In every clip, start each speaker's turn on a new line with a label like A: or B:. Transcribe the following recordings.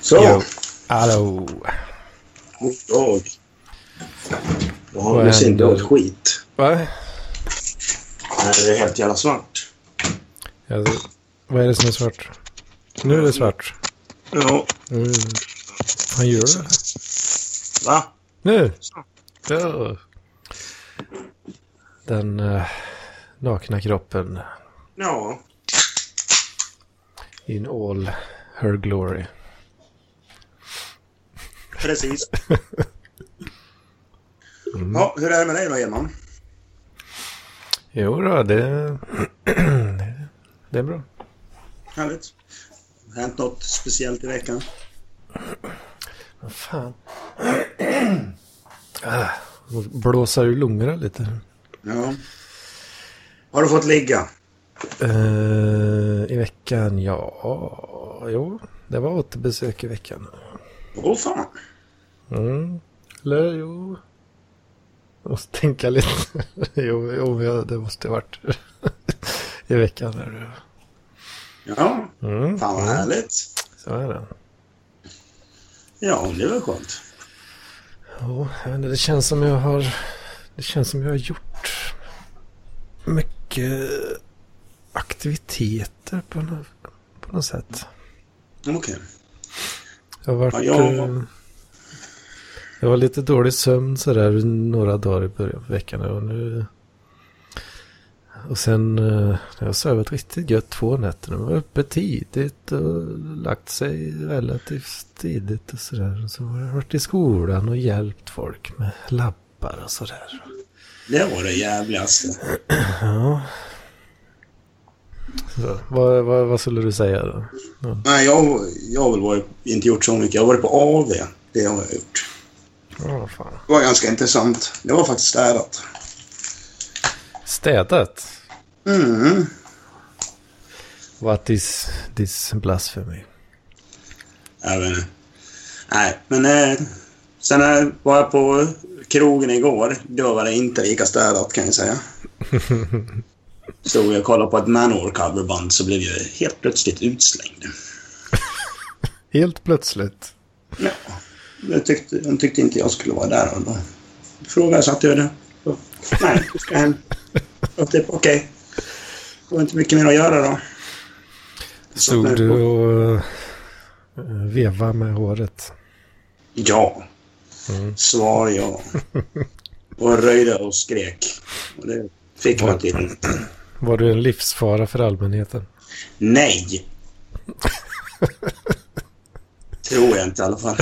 A: Så,
B: Jo. Hallå.
A: god dag. Ja,
B: Vad
A: det ser
B: händer?
A: inte åt skit.
B: Va?
A: Nej, det är helt jävla svart.
B: Ja, det- vad är det som är svart? Nu är det svart.
A: Ja,
B: Mm. Fan, gör det?
A: va?
B: Nu! Ja. Den eh, nakna kroppen
A: Ja,
B: in all her glory.
A: precis. Ja, hur är det med dig då, Edman?
B: Jo då, det... det är bra.
A: Härligt. Har hänt något speciellt i veckan?
B: Vad fan. Ah, Blåsa ur lungorna lite.
A: Ja. Har du fått ligga?
B: Eh, I veckan, ja. Jo, det var återbesök i veckan.
A: Åh fan.
B: Mm. Eller jo. Jag måste tänka lite. jo, jo ja, det måste ha varit i veckan. Där.
A: Ja,
B: Mm.
A: fan vad härligt.
B: Så är det.
A: Ja, det var skönt.
B: Jo, jag vet inte, det känns som jag har... Det känns som jag har gjort mycket aktiviteter på något, på något sätt.
A: Okej.
B: Jag har varit...
A: Ja, jag-
B: eh, Jag var lite dålig sömn sådär några dagar i början på veckan. Och, nu... och sen eh, har jag sovit riktigt gött två nätter. Jag var uppe tidigt och lagt sig relativt tidigt och sådär. Och så har jag varit i skolan och hjälpt folk med labbar och sådär.
A: Det var det jävligaste.
B: Ja. Så, vad, vad, vad skulle du säga då?
A: Nej, jag, jag har väl varit, inte gjort så mycket. Jag har varit på AV. Det har jag gjort.
B: Ja, vad fan.
A: Det var ganska intressant. Det var faktiskt städat.
B: Städat.
A: Mm.
B: What is this blasphemy?
A: Jag vet inte. Nej, men eh, sen eh, var jag på krogen igår. Då var det inte lika städat kan jag säga. Stod jag och kollade på ett Manowar coverband så blev jag helt plötsligt utslängd.
B: Helt plötsligt.
A: Ja, det tyckte, de tyckte inte jag skulle vara där. Och då frågade jag så att jag det. Så, Nej, jag ska hem. Och typ okej. Det var inte mycket mer att göra då.
B: Stod
A: att-
B: du och eh, vevade med håret?
A: Ja. Svar ja. Och röjde och skrek. Och det fick man till.
B: Var du en livsfara för allmänheten?
A: Nej! Tror jag inte i alla fall.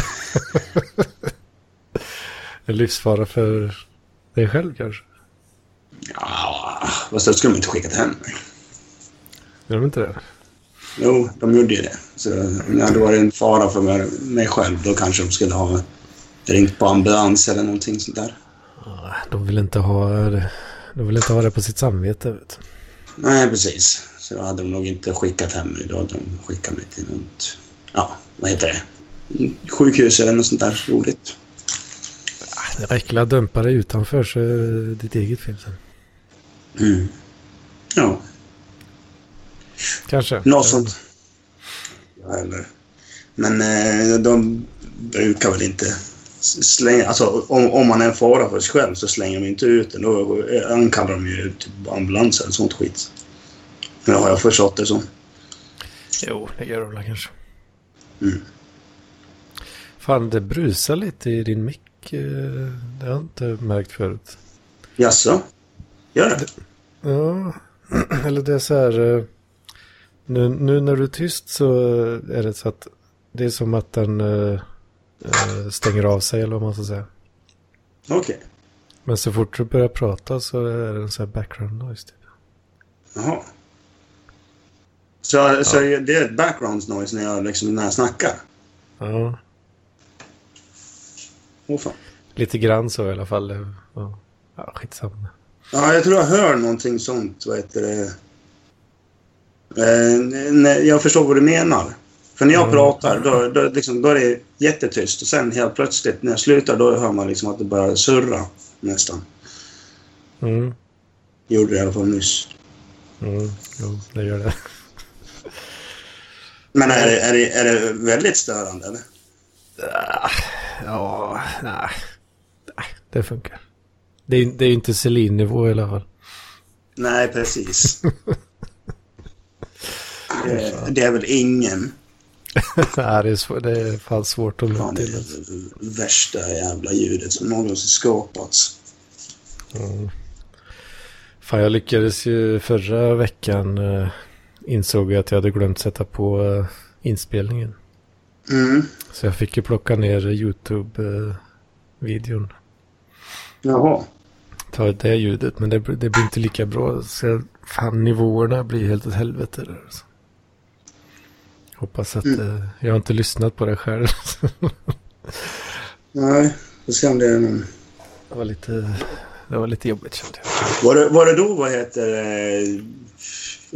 B: En livsfara för dig själv kanske?
A: Ja, Ah, fast då skulle de inte skickat hem mig.
B: Gör de inte det?
A: Jo, de gjorde ju det. Så om det hade varit en fara för mig, mig själv då kanske de skulle ha ringt på ambulans eller någonting sånt där.
B: Ah, De vill inte ha det, de vill inte ha det på sitt samvete. Vet du.
A: Nej, precis. Så då hade de nog inte skickat hem mig. Då hade de skickat mig till något... Ja, vad heter det? Sjukhus eller något sånt där roligt.
B: Ah, Det räcker att dumpa dig utanför så är det ditt eget fel sen.
A: Mm. Ja,
B: Kanske.
A: något sånt. Ja, eller. Men eh, de brukar väl inte s- slänga... Alltså om, om man är en fara för sig själv så slänger de inte ut en. Då eh, ankallar de ju typ ambulans eller sånt skit. Nu har jag förstått det som.
B: Jo, det gör de väl kanske.
A: Mm.
B: Fan, det brusar lite i din mick. eh, Det har jag inte märkt förut.
A: Jaså? Gör det?
B: Ja, eller det är så här. eh, Nu, nu när du är tyst så eh, är det så att det är som att den eh, eh, stänger av sig eller vad man ska säga.
A: Okej.
B: Men så fort du börjar prata så är det en sån här background noise. Typ.
A: Jaha. Så, så det är ett background noise när jag, liksom, när jag snackar?
B: Ja,
A: Åh fan.
B: lite grann så i alla fall. Ja, ja skitsamma.
A: Ja, jag tror jag hör någonting sånt. Vad heter det? Eh, nej, jag förstår vad du menar. För när jag
B: Mm.
A: pratar då, då, liksom, då är det jättetyst och sen helt plötsligt när jag slutar då hör man liksom att det börjar surra nästan.
B: Mm,
A: Gjorde det i alla fall nyss.
B: mm, jo, det gör det.
A: Men är det, är det, är det väldigt störande eller?
B: Ah, Ja, nej. Nej, Det funkar. Det är, det är ju inte Celine-nivå i alla fall.
A: Nej, precis. det, det är väl ingen.
B: nej, det är, svår, det är fan svårt att nå
A: Fan, det är
B: till. alltså.
A: det värsta jävla ljudet som någonsin skapats.
B: Fan, jag lyckades ju förra veckan eh, insåg jag att jag hade glömt sätta på eh, inspelningen.
A: Mm.
B: Så jag fick ju plocka ner eh, YouTube-videon.
A: Jaha.
B: Ta det ljudet, men det, det blir inte lika bra. Så jag, fan, nivåerna blir helt åt helvete där. Alltså. Hoppas att eh, jag har inte lyssnat på det själv.
A: Nej, vi ska se om det är någon...
B: det, var lite, det var lite jobbigt kände jag.
A: Var det, var det då, vad heter... Eh,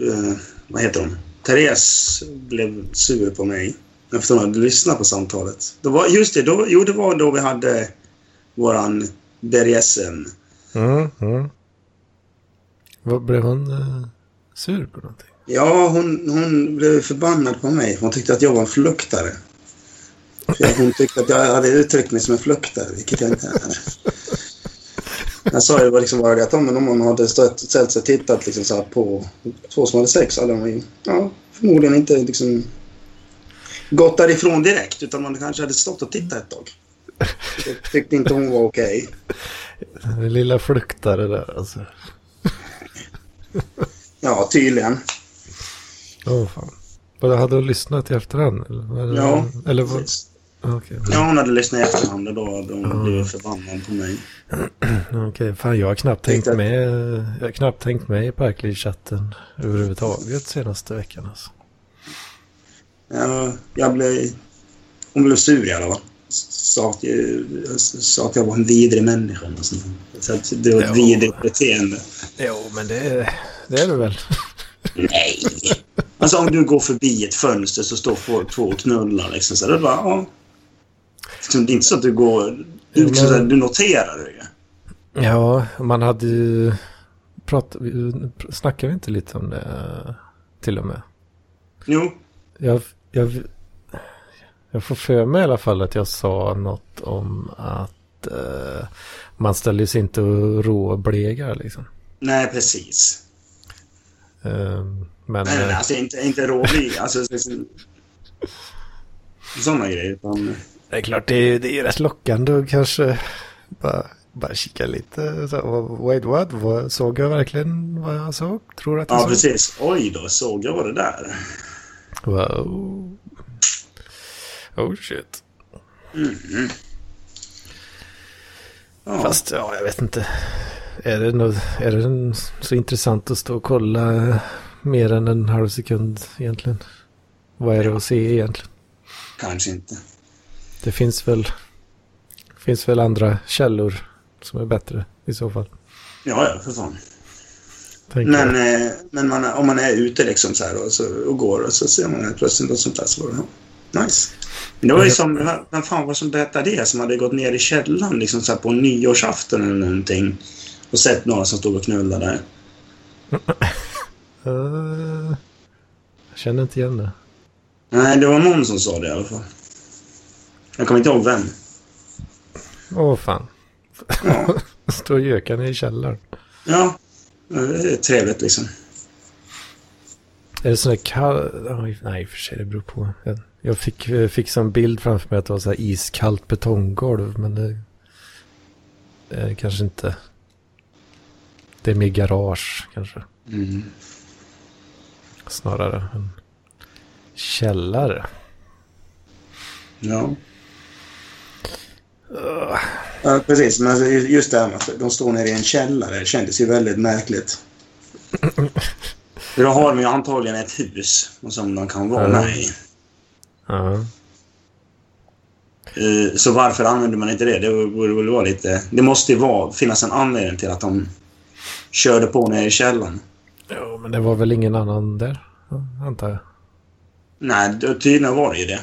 A: eh, vad heter hon? Therese blev sur på mig efter hon hade lyssnat på samtalet. Då var, just det, då, jo det var då vi hade våran BDSM.
B: Mm, mm. Vad blev hon eh, sur på någonting?
A: Ja, hon, hon blev förbannad på mig. Hon tyckte att jag var en fluktare. För att hon tyckte att jag hade uttryckt mig som en fluktare, vilket jag inte är. Jag sa ju liksom bara det att ja, men om hon hade stött, ställt sig och tittat liksom så här på två som hade sex hade hon ju ja, förmodligen inte liksom gått därifrån direkt utan man kanske hade stått och tittat ett tag. Det tyckte inte hon var okej.
B: Den lilla fluktare där alltså.
A: Ja, tydligen.
B: Åh fan. Vad hade hon lyssnat i efterhand? Eller, vad-
A: Ja,
B: eller vad?
A: precis.
B: Okej,
A: Ja, hon hade lyssnat i efterhand och då hade hon blivit förbannad på mig.
B: okej. Fan, jag har knappt tänkt
A: Tänkte att-
B: med. Jag har knappt tänkt med i Parkliv-chatten överhuvudtaget senaste veckan alltså.
A: Ja, jag blev... Hon blev sur i alla fall. Sa att jag, sa att jag var en vidrig människa. eller sånt. Så att det var ett
B: Ja.
A: vidrigt beteende.
B: Jo, men det, det är det väl.
A: Nej! Alltså om du går förbi ett fönster så står folk två och knullar. Liksom, så här, det, är bara, ja. liksom, det är inte så att du går... Du, liksom,
B: Ja,
A: så
B: men-
A: här, du noterar det ju.
B: Ja, man hade ju... Prat, pr- snackade vi inte lite om det eh, till och med?
A: Jo.
B: Jag, jag, jag får för mig i alla fall att jag sa något om att eh, man ställer sig inte och råblegar liksom.
A: Nej, precis.
B: Eh, men
A: Nej, nej, nej,
B: eh,
A: alltså inte, inte råbly. Alltså, liksom, sådana grejer. Utan,
B: det är klart, det är, det är rätt lockande att kanske bara, bara kika lite. Så, här, vad- wait what? Vad, såg jag verkligen vad jag såg? Tror att jag
A: ja,
B: såg?
A: precis. Oj då, såg jag det där?
B: Wow. Oh shit.
A: Ja.
B: Fast ja, jag vet inte. Är det, något, är det en- så intressant att stå och kolla eh, mer än en halv sekund egentligen? Vad är det att se egentligen?
A: Kanske inte.
B: Det finns väl, finns väl andra källor som är bättre i så fall.
A: Ja, ja, för fan.
B: tänker
A: Men,
B: jag.
A: eh, men man, om man är ute liksom så här och, så, och går och så ser man att plötsligt något sånt där så var det ja, nice. Men det var ju som, vem fan var det som berättade det? Som hade gått ner i källaren liksom så här på nyårsafton eller någonting och sett några som stod och knullade där.
B: Eh, jag känner inte igen det.
A: Nej, det var någon som sa det i alla fall. Jag kommer inte ihåg vem.
B: Åh fan.
A: Ja,
B: Står gökarna i källaren.
A: ja. Det är trevligt liksom.
B: Är det sån där kall... oj, Nej, i och för sig, det beror på. Jag- Jag fick, jag fick som bild framför mig att det var så här iskallt betonggolv, men det... det är det kanske inte. Det är mer garage, kanske.
A: Mm.
B: Snarare än källare.
A: Ja. ja, precis. Men alltså, just det här med att de står nere i en källare det kändes ju väldigt märkligt. För då har de ju antagligen ett hus och som de kan vara
B: Ja.
A: med i.
B: Ja.
A: Eh, Så varför använder man inte det? Det borde väl vara lite... Det måste ju vara, finnas en anledning till att de körde på nere i källaren.
B: Jo, men det var väl ingen annan där, ja, antar jag.
A: Nej, då- tydligen var det ju det.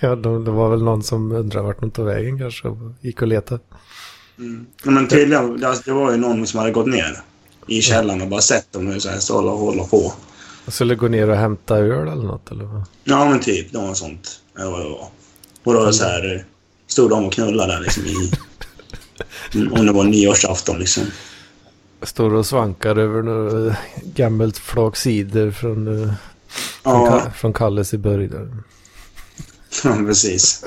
B: ja, det, det var väl någon som undrade vart de tog vägen kanske och gick och letade.
A: Ja, Men tydligen, det alltså, det var ju någon som hade gått ner i källaren och bara sett dem hur så här står och håller på.
B: Jag skulle gå ner och hämta öl eller något eller vad?
A: Ja, men typ något sånt. Eller vad det var. Och då så här, eh, stod de och knullade där liksom i... Om det var nyårsafton liksom.
B: Står och svankar över något eh, gammalt flak cider från, eh, från, Ka-
A: Ja,
B: från Kalles i Börje.
A: ja precis.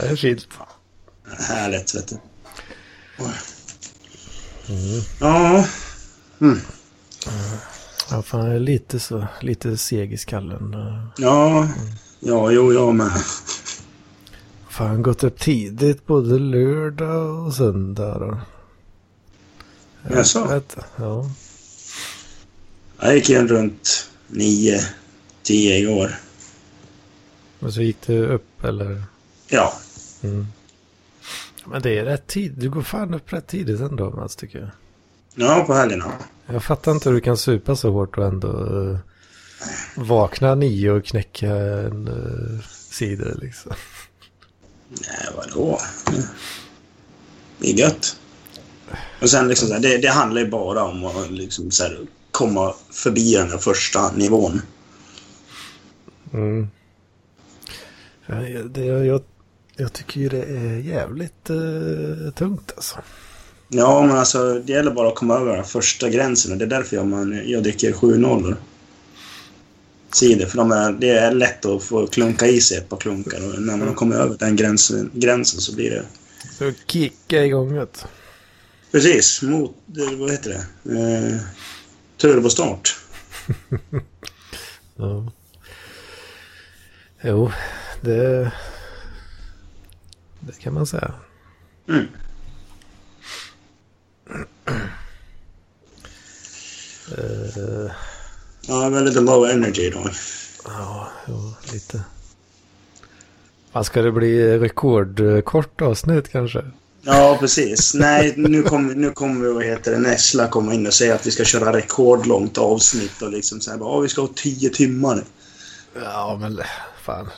B: Det är fint.
A: Härligt, vet du. Ja,
B: Ja, fan, jag är lite, så, lite seg i skallen.
A: ja, ja, jo, jag med.
B: Fan, gått upp tidigt både lördag och söndag. Då. Jag
A: Jaså?
B: vet- Ja.
A: Jag gick in runt nio, tio igår.
B: Men så gick det upp eller?
A: Ja,
B: Mm. Men det är rätt tid. Du går fan upp rätt tidigt ändå Mats tycker jag.
A: ja på helgerna.
B: Jag fattar inte hur du kan supa så hårt och ändå eh, vakna nio och knäcka en uh, cider liksom.
A: Nej, vadå? Mm. Det är gött. Och sen liksom så här, det, det handlar ju bara om att liksom så här, komma förbi den där första nivån.
B: Mm. Ja, jag- Det, jag, jag tycker ju det är jävligt eh, tungt alltså.
A: Ja, men alltså det gäller bara att komma över den första gränsen och det är därför jag, man, jag dricker 7-0. Cider, för de är, det är lätt att få klunka i sig ett par klunkar och när man kommer över den gränsen, gränsen så blir det...
B: Så kicka igång det.
A: Precis, mot... eh, Vad heter det? Eh, turbostart.
B: Ja. Jo, det, det kan man säga.
A: Mm.
B: Eh,
A: Ja, väldigt low energy idag.
B: ja, jo, lite. Vad ska det bli rekordkort avsnitt kanske?
A: Ja, precis. Nej, nu kommer nu kommer vad heter det, Nessla komma in och säga att vi ska köra rekordlångt avsnitt och liksom så här bara, "Ja, vi ska ha tio timmar.
B: Ja, men fan.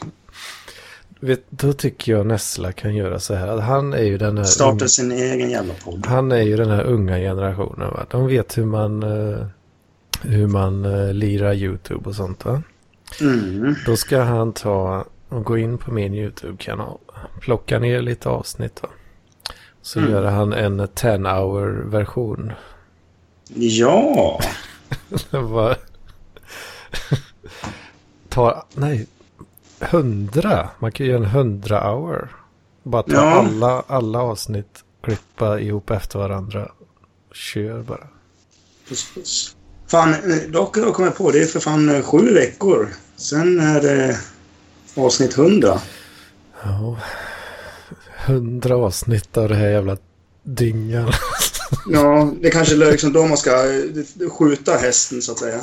B: Vet, då tycker jag Nessla kan göra så här. att Han är ju den här...
A: Starta sin egen jävla podd.
B: Han är ju den här unga generationen. Va? De vet hur man, eh, hur man eh, lirar YouTube och sånt. Va?
A: Mm.
B: Då ska han ta och gå in på min YouTube-kanal. Plocka ner lite avsnitt. Va? Så
A: Mm.
B: gör han en 10-hour-version.
A: Ja,
B: Bara- tar, nej, 100. Man kan ju göra en 100-hour. Bara ta
A: Ja.
B: alla, alla avsnitt, klippa ihop efter varandra. Kör bara.
A: precis. Fan, eh, dock har jag kommit på, det är för fan eh, sju veckor. Sen är det avsnitt 100.
B: Ja, hundra avsnitt av det här jävla dyngan.
A: Ja, det kanske är liksom då man ska eh, skjuta hästen så att säga.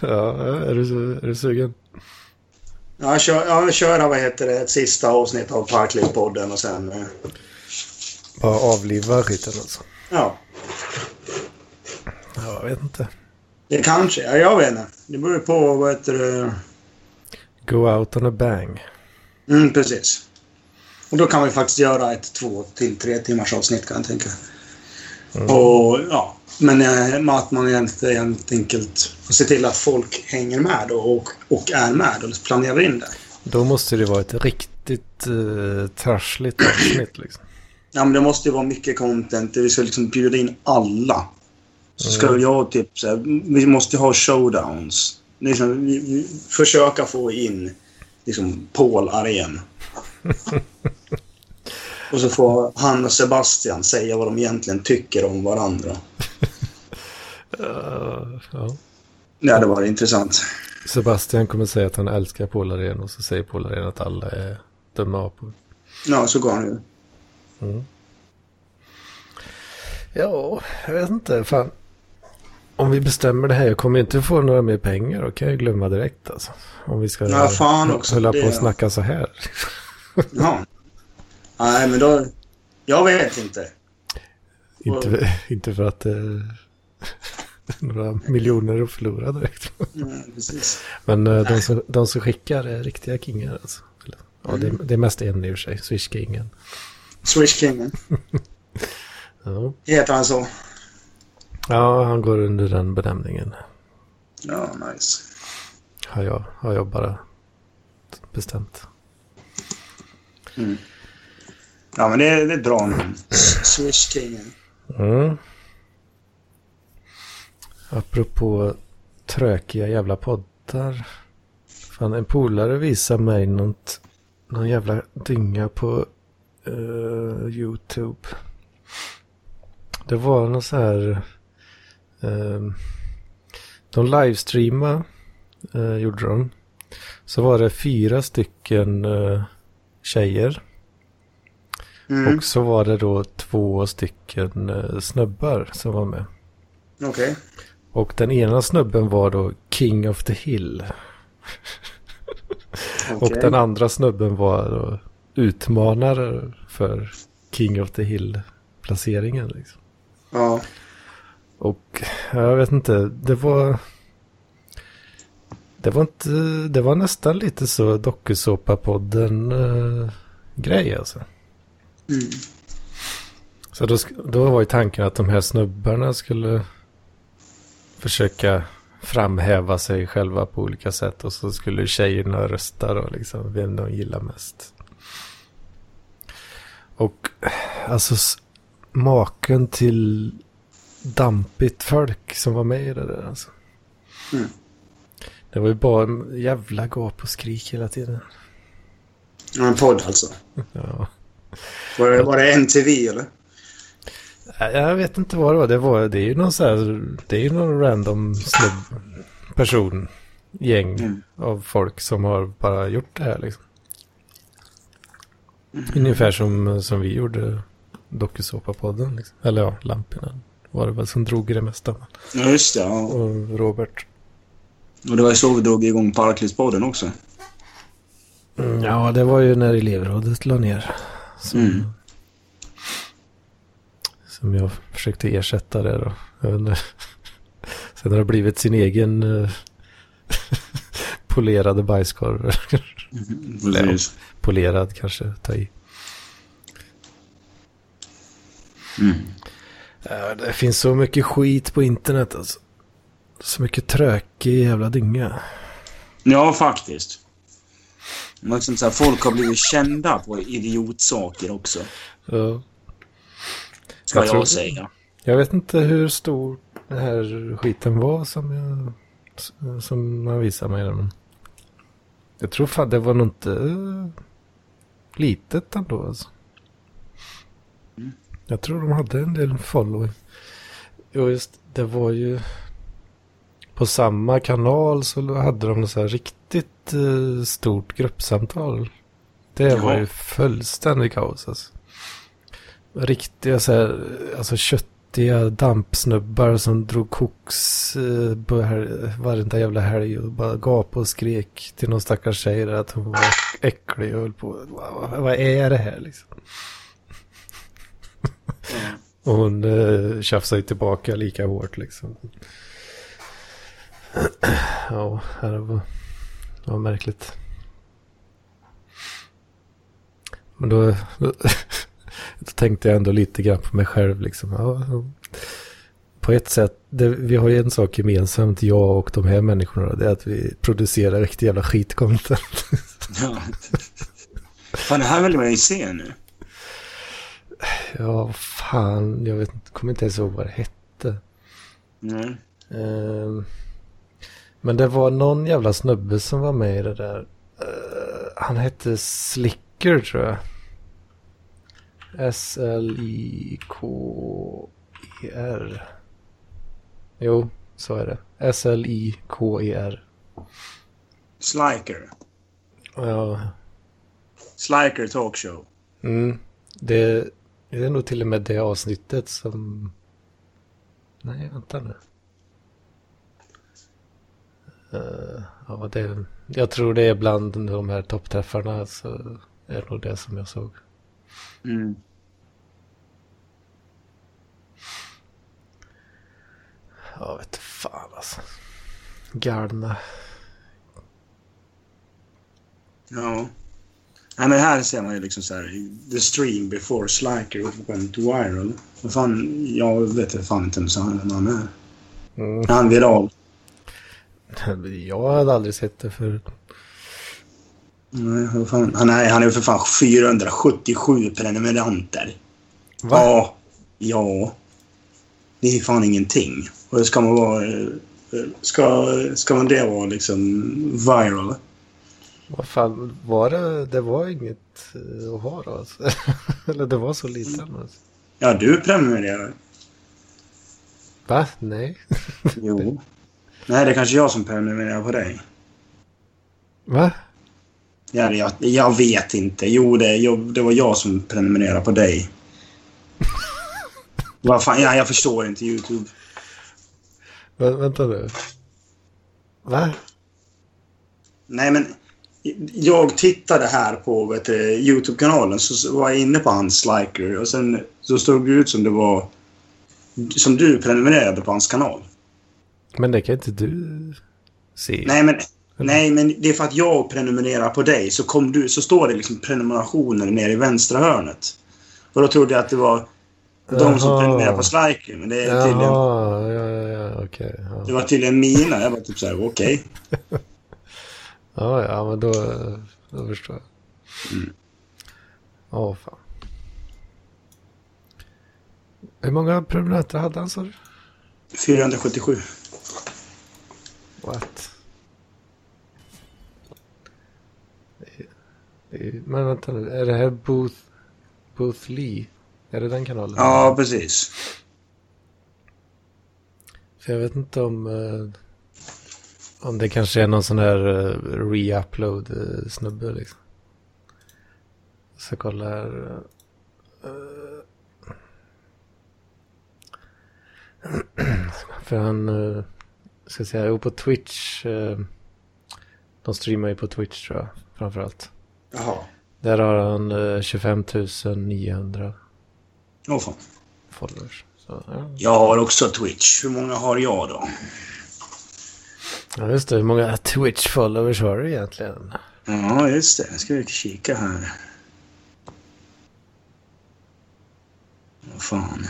B: ja, är du, su- är du sugen?
A: Ja, kör, ja, kör vad heter det, ett sista avsnitt av Parkliv-podden och sen... eh,
B: Bara avliva skiten alltså.
A: Ja,
B: Ja, jag vet inte.
A: det kanske... Ja, jag vet inte. Det beror ju på vad heter det...
B: Go out on a bang.
A: Mm, precis. Och då kan vi faktiskt göra ett två till tre timmars avsnitt kan jag tänka. Och, ja. Men eh, att man helt, helt enkelt ser till att folk hänger med och, och är med och planerar in det.
B: Då måste det vara ett riktigt uh, trassligt avsnitt liksom.
A: Ja, men det måste ju vara mycket content. Vi ska liksom bjuda in alla. Så ska jag typ så här, Vi måste ha showdowns. Liksom, vi, vi, försöka få in liksom Paul Arén. och så får han och Sebastian säga vad de egentligen tycker om varandra.
B: Eh, ja.
A: Det hade varit intressant.
B: Sebastian kommer säga att han älskar Polaren och så säger Polaren att alla är dumma apor.
A: Ja, så går han ju.
B: Ja, jag vet inte. Fan. Om vi bestämmer det här, jag kommer inte få några mer pengar. Då kan jag glömma direkt alltså. Om vi ska
A: Ja, fan också,
B: hålla på
A: det-
B: och snacka så här.
A: Ja. Nej, men då... Jag vet inte.
B: inte, inte för att eh, några miljoner att förlora direkt.
A: Mm, precis.
B: Men eh, de, som, de som skickar är riktiga kingar alltså. Eller,
A: Mm.
B: Ja, det, det är mest en i och för sig, Swish-kingen.
A: Swish Kingen.
B: Ja.
A: Heter han så?
B: ja, han går under den benämningen.
A: Ja, nice.
B: Har jag, har jag bara bestämt.
A: Ja, men det, det är ett bra namn. Swish-kingen.
B: Mm. Apropå trökiga jävla poddar. Fan, en polare visade mig något, någon jävla dynga på eh, YouTube. Det var någon så här... ehm, de livestreamade, eh, gjorde de. Så var det fyra stycken eh, tjejer.
A: Mm.
B: Och så var det då två stycken eh, snubbar som var med.
A: Okej.
B: Och den ena snubben var då King of the Hill. Och
A: Okej.
B: den andra snubben var då utmanare för King of the Hill-placeringen. Liksom.
A: Ja.
B: Och jag vet inte, det var... Det var, inte, det var nästan lite så dokusåpapodden eh, grej alltså.
A: Mm.
B: Så då, sk- då var ju tanken att de här snubbarna skulle försöka framhäva sig själva på olika sätt och så skulle tjejerna rösta då liksom vem de gillar mest. Och alltså s- maken till dampigt folk som var med i det där alltså.
A: Mm.
B: Det var ju bara en jävla gap och skrik hela tiden.
A: Ja, En podd alltså.
B: Ja.
A: Var det, var det MTV eller?
B: Nej, Jag vet inte vad det var. Det, var, det är ju någon så här, det är ju någon random snubb, person, gäng
A: Mm.
B: av folk som har bara gjort det här liksom. Ungefär som, som vi gjorde dokusåpapodden. Liksom. Eller ja, Lampinen var det väl som drog i det mesta.
A: Ja, just det. Ja.
B: Och Robert.
A: Och det var ju så vi drog igång Parklivspodden också.
B: Mm, ja, det var ju när elevrådet la ner. Som,
A: Mm.
B: som jag försökte ersätta det då. Jag vet inte. Sen har det blivit sin egen eh, polerade bajskorv.
A: Precis.
B: Polerad kanske, ta i.
A: Mm.
B: Ja, Det finns så mycket skit på internet alltså. Så mycket trökig jävla dynga.
A: Ja, faktiskt. Men Liksom så här, folk har blivit kända på idiotsaker också.
B: Ja.
A: Ska
B: Jag
A: jag,
B: tror-
A: säga.
B: Jag vet inte hur stor den här skiten var som, jag, som man visade mig. den, Men jag tror fan det var nog inte eh, litet ändå. Alltså. Jag tror de hade en del following. Jo, just det var ju på samma kanal så hade de så här riktigt eh, stort gruppsamtal. Det var
A: Jaha.
B: ju fullständigt kaos alltså. Riktiga så här, alltså köttiga dampsnubbar som drog koks eh, på här, varenda jävla helg och bara gapade och skrek till någon stackars tjej där att hon var äcklig och höll på. Vad, vad- vad är det här liksom? Och hon eh, tjafsade ju tillbaka lika hårt liksom. ja, det var, det var märkligt. Men då, då, tänkte jag ändå lite grann på mig själv liksom. Ja, ja. på ett sätt, det, vi har ju en sak gemensamt, jag och de här människorna, det är att vi producerar riktigt jävla skitcontent.
A: Ja. Fan, det här vill man ju se nu.
B: ja, fan, jag vet, inte- kommer inte ens ihåg vad det hette.
A: Mm.
B: Ehm, Men det var någon jävla snubbe som var med i det där. Eh, Han hette Slicker tror jag. S-L-I-K-E-R. E Jo, så är det. S-L-I-K-E-R.
A: Sliker.
B: Ja.
A: Sliker Talkshow.
B: Mm. Det, det är nog till och med det avsnittet som... Nej, vänta nu. Eh, ja, det, jag tror det är bland de här toppträffarna så är det nog det som jag såg.
A: Mm.
B: Ja, vet du fan alltså. Galna.
A: Ja. Nej, men här ser man ju liksom så här, the stream before Sliker went viral. Vad fan, jag vet inte fan inte ens vem han är.
B: Mm.
A: Är han viral?
B: Jag hade aldrig sett det förut.
A: Nej, vad fan. Han är, han är för fan 477 prenumeranter.
B: Va?
A: Ja. Ja. Det är fan ingenting. Och ska man vara... eh, Ska, ska man det vara liksom viral?
B: Vad fan, var det, det var inget eh, att ha då alltså. Eller det var så lite alltså.
A: Ja, du prenumererar.
B: Va? Nej.
A: Jo. Nej, det är kanske jag som prenumererar på dig.
B: Va?
A: Ja, det- jag, jag vet inte. Jo, det, jag, det var jag som prenumererade på dig. Vad fan, ja, jag förstår inte YouTube.
B: Vä vänta nu. Va?
A: Nej, men jag tittade här på vet du, YouTube-kanalen så- så var jag inne på hans liker och sen så stod det ut som det var som du prenumererade på hans kanal.
B: Men det kan inte du se.
A: Nej, men, nej, men det är för att jag prenumererar på dig så, kom du, så står det liksom prenumerationer nere i vänstra hörnet. Och då trodde jag att det var de som
B: Jaha.
A: prenumererar på Sliker, men det är tydligen
B: Jaha, ja, ja, ja, okej. ja.
A: Det var tydligen mina. Jag var typ såhär, okej.
B: Ja, ja, men då, då förstår jag.
A: Mm.
B: Ja, fan. Hur många prenumeranter hade han sa du?
A: 477.
B: What? Det är- det är- Eh, Men vänta nu, är det här Booth, Booth Lee? Är det den kanalen?
A: Ja, precis.
B: För jag vet inte om, eh, om det kanske är någon sån här eh, re-upload eh, snubbe liksom. Jag ska kolla här. eh, eh. För han, eh, ska säga, jo på Twitch. eh, De streamar ju på Twitch tror jag, framförallt.
A: Jaha.
B: Där har han eh, 25 900
A: Åh fan.
B: followers. Så, ja.
A: Jag har också Twitch. Hur många har jag då?
B: ja, just det. Hur många Twitch-followers har du egentligen?
A: Ja, just det. Jag ska vi kika här. Vad fan.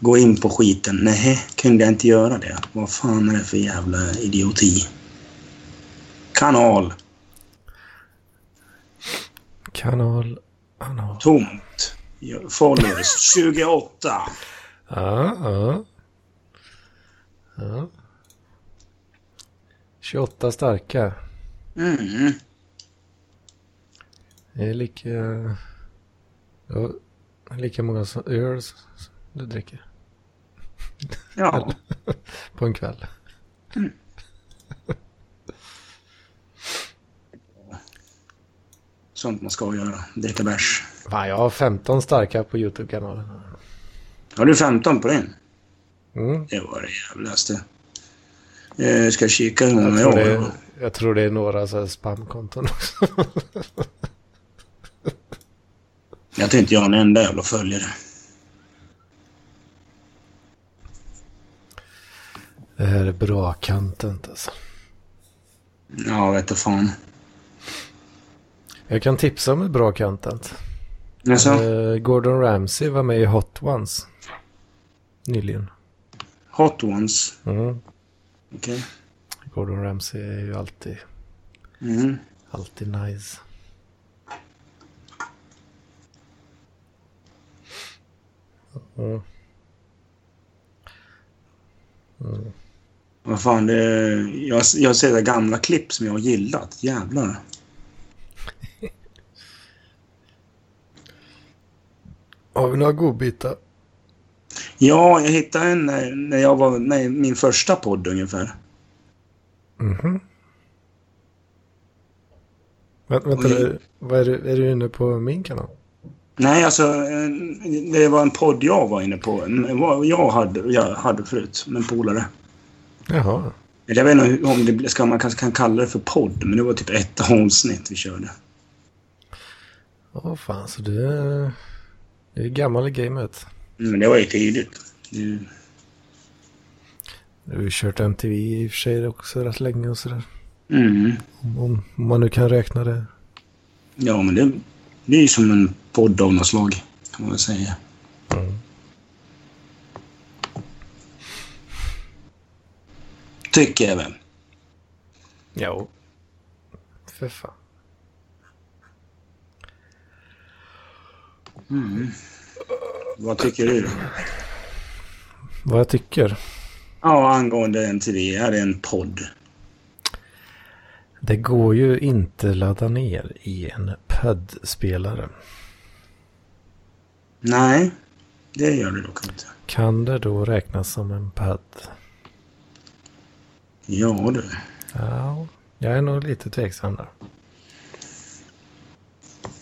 A: Gå in på skiten. Nej, kunde jag inte göra det? Vad fan är det för jävla idioti? Kanal.
B: Kanal anal.
A: Tomt. Followers. 28.
B: Ja, ja. ja. 28 starka.
A: Mm.
B: Det är lika... Ja, lika många som öl som du dricker
A: Ja.
B: på en kväll.
A: Sånt man ska göra. Dricka bärs.
B: Fan, jag har 15 starka på YouTube-kanalen.
A: Har du 15 på din?
B: Mm.
A: Det var det jävlaste. Jag ska kika hur
B: Jag,
A: många
B: tror
A: jag
B: det,
A: har.
B: jag tror det är några så här spamkonton också.
A: Jag tror inte jag har en enda jävla följare.
B: Det här är bra content alltså.
A: Ja, vet du fan.
B: Jag kan tipsa om ett bra content.
A: Alltså,
B: Eh, Gordon Ramsay var med i Hot Ones. Nyligen.
A: hot ones.
B: Mm.
A: Okej.
B: Gordon Ramsay är ju alltid,
A: Mm.
B: alltid nice. Mm.
A: Vad fan, det... Jag, jag ser det gamla klipp som jag har gillat. Jävlar.
B: Har vi några godbitar?
A: Ja, jag hittade en när, när jag var med i min första podd ungefär.
B: Mhm. Vä- vänta,
A: Oj.
B: är, vad är, du, är du inne på min kanal?
A: Nej, alltså en- det var en podd jag var inne på. En- vad Jag hade, jag hade förut, med en polare.
B: Jaha.
A: Eller Jag vet inte om det ska man kanske kan kalla det för podd, men det var typ ett avsnitt vi körde.
B: Åh fan, så du är, du är gammal i gamet.
A: Men det var ju tidigt. Det-
B: Du har ju kört MTV i och för sig också rätt länge och sådär.
A: Mm.
B: Om, om, om man nu kan räkna det.
A: Ja, men det det är ju som en podd av något slag, kan man väl säga.
B: Mm.
A: Tycker jag väl.
B: Ja. För fan.
A: Vad tycker du? då?
B: Vad jag tycker?
A: Ja, angående NTV, är det en podd?
B: Det går ju inte ladda ner i en pad-spelare.
A: Nej, det gör det dock inte.
B: Kan det då räknas som en pad?
A: Ja du.
B: Ja, jag är nog lite tveksam där.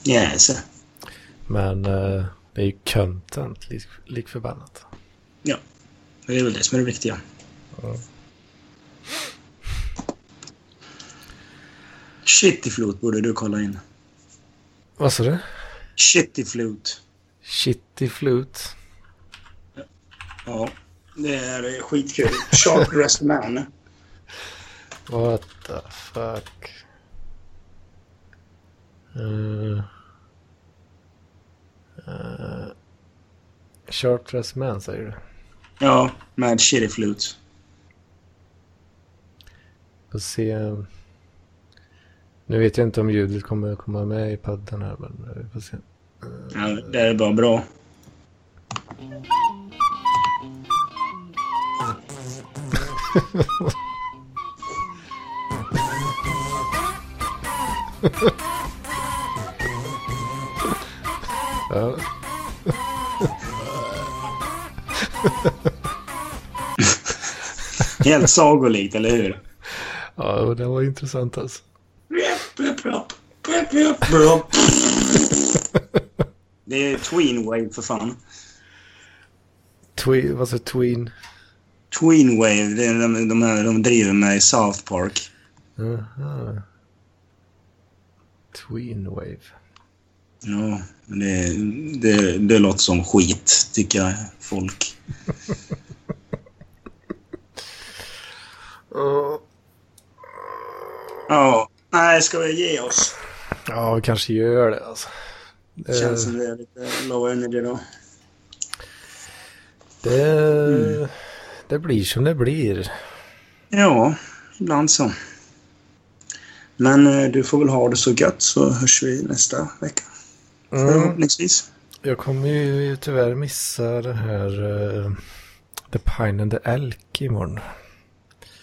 A: Yes.
B: Men eh, det är ju content lik, lik förbannat.
A: Det är väl det som är det viktiga. Shittyflute borde du kolla in.
B: Vad sa du?
A: Shittyflute.
B: Shitty flute.
A: Ja, det är skitkul. Shark Dressed Man.
B: What the fuck? Uh, uh, Sharp Dressed Man säger du?
A: Ja, med Shittyflute.
B: Får se. eh, Nu vet jag inte om ljudet kommer att komma med i padden här men eh, vi får se.
A: Ja, det är bara bra.
B: Ja.
A: Helt sagolikt, eller hur?
B: ja, och det var intressant alltså.
A: Det är Tweenwave för fan.
B: Tween, vad sa Tween?
A: Tweenwave, det är de, de, här, de driver med i South Park.
B: Aha. Tween Wave.
A: Ja, men det, det, det låter som skit, tycker jag, folk. Ja. Nej, ska vi ge oss?
B: Ja, vi kanske gör det alltså.
A: Det känns som det är lite low energy då.
B: Det,
A: Mm.
B: det blir som det blir.
A: Ja, ibland så. Men eh, du får väl ha det så gött så hörs vi nästa vecka förhoppningsvis.
B: Jag kommer ju tyvärr missa det här eh, The Pine and the Elk imorgon.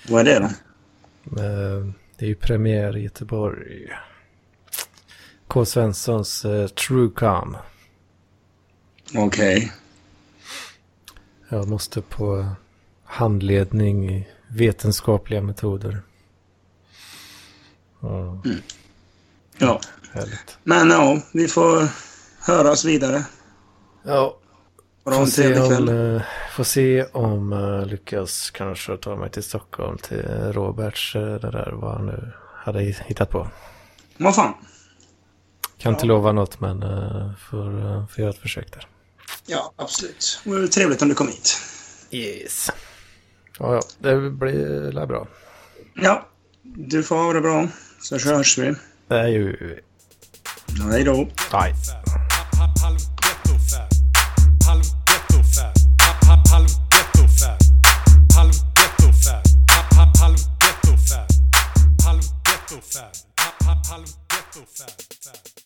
A: Vad är det då?
B: Eh, det är ju premiär i Göteborg. K. Svenssons uh, True Calm.
A: Okej.
B: Jag måste på handledning i vetenskapliga metoder. Ja,
A: Ja.
B: härligt.
A: Men ja, vi får höras vidare.
B: Ja,
A: Och ha
B: Får
A: en
B: se,
A: trevlig
B: om,
A: kväll.
B: eh, får se om eh, lyckas kanske ta mig till Stockholm till eh, Roberts, eh, det där vad han nu hade hittat på.
A: Vad fan.
B: Kan inte lova något men eh, får, eh, får göra ett försök där.
A: Ja, absolut. Det vore trevligt om du kom hit.
B: Yes. Ja, ja, det blir lär bra.
A: Ja, du får ha det bra. Så hörs vi.
B: Det är ju...
A: Hej då.
B: Nej.
C: Hallå ghetto fab. Hallå ghetto fab. Hallå ghetto fab. Hallå ghetto fab. Hallå ghetto fab. Hallå ghetto fab. Hallå ghetto fab.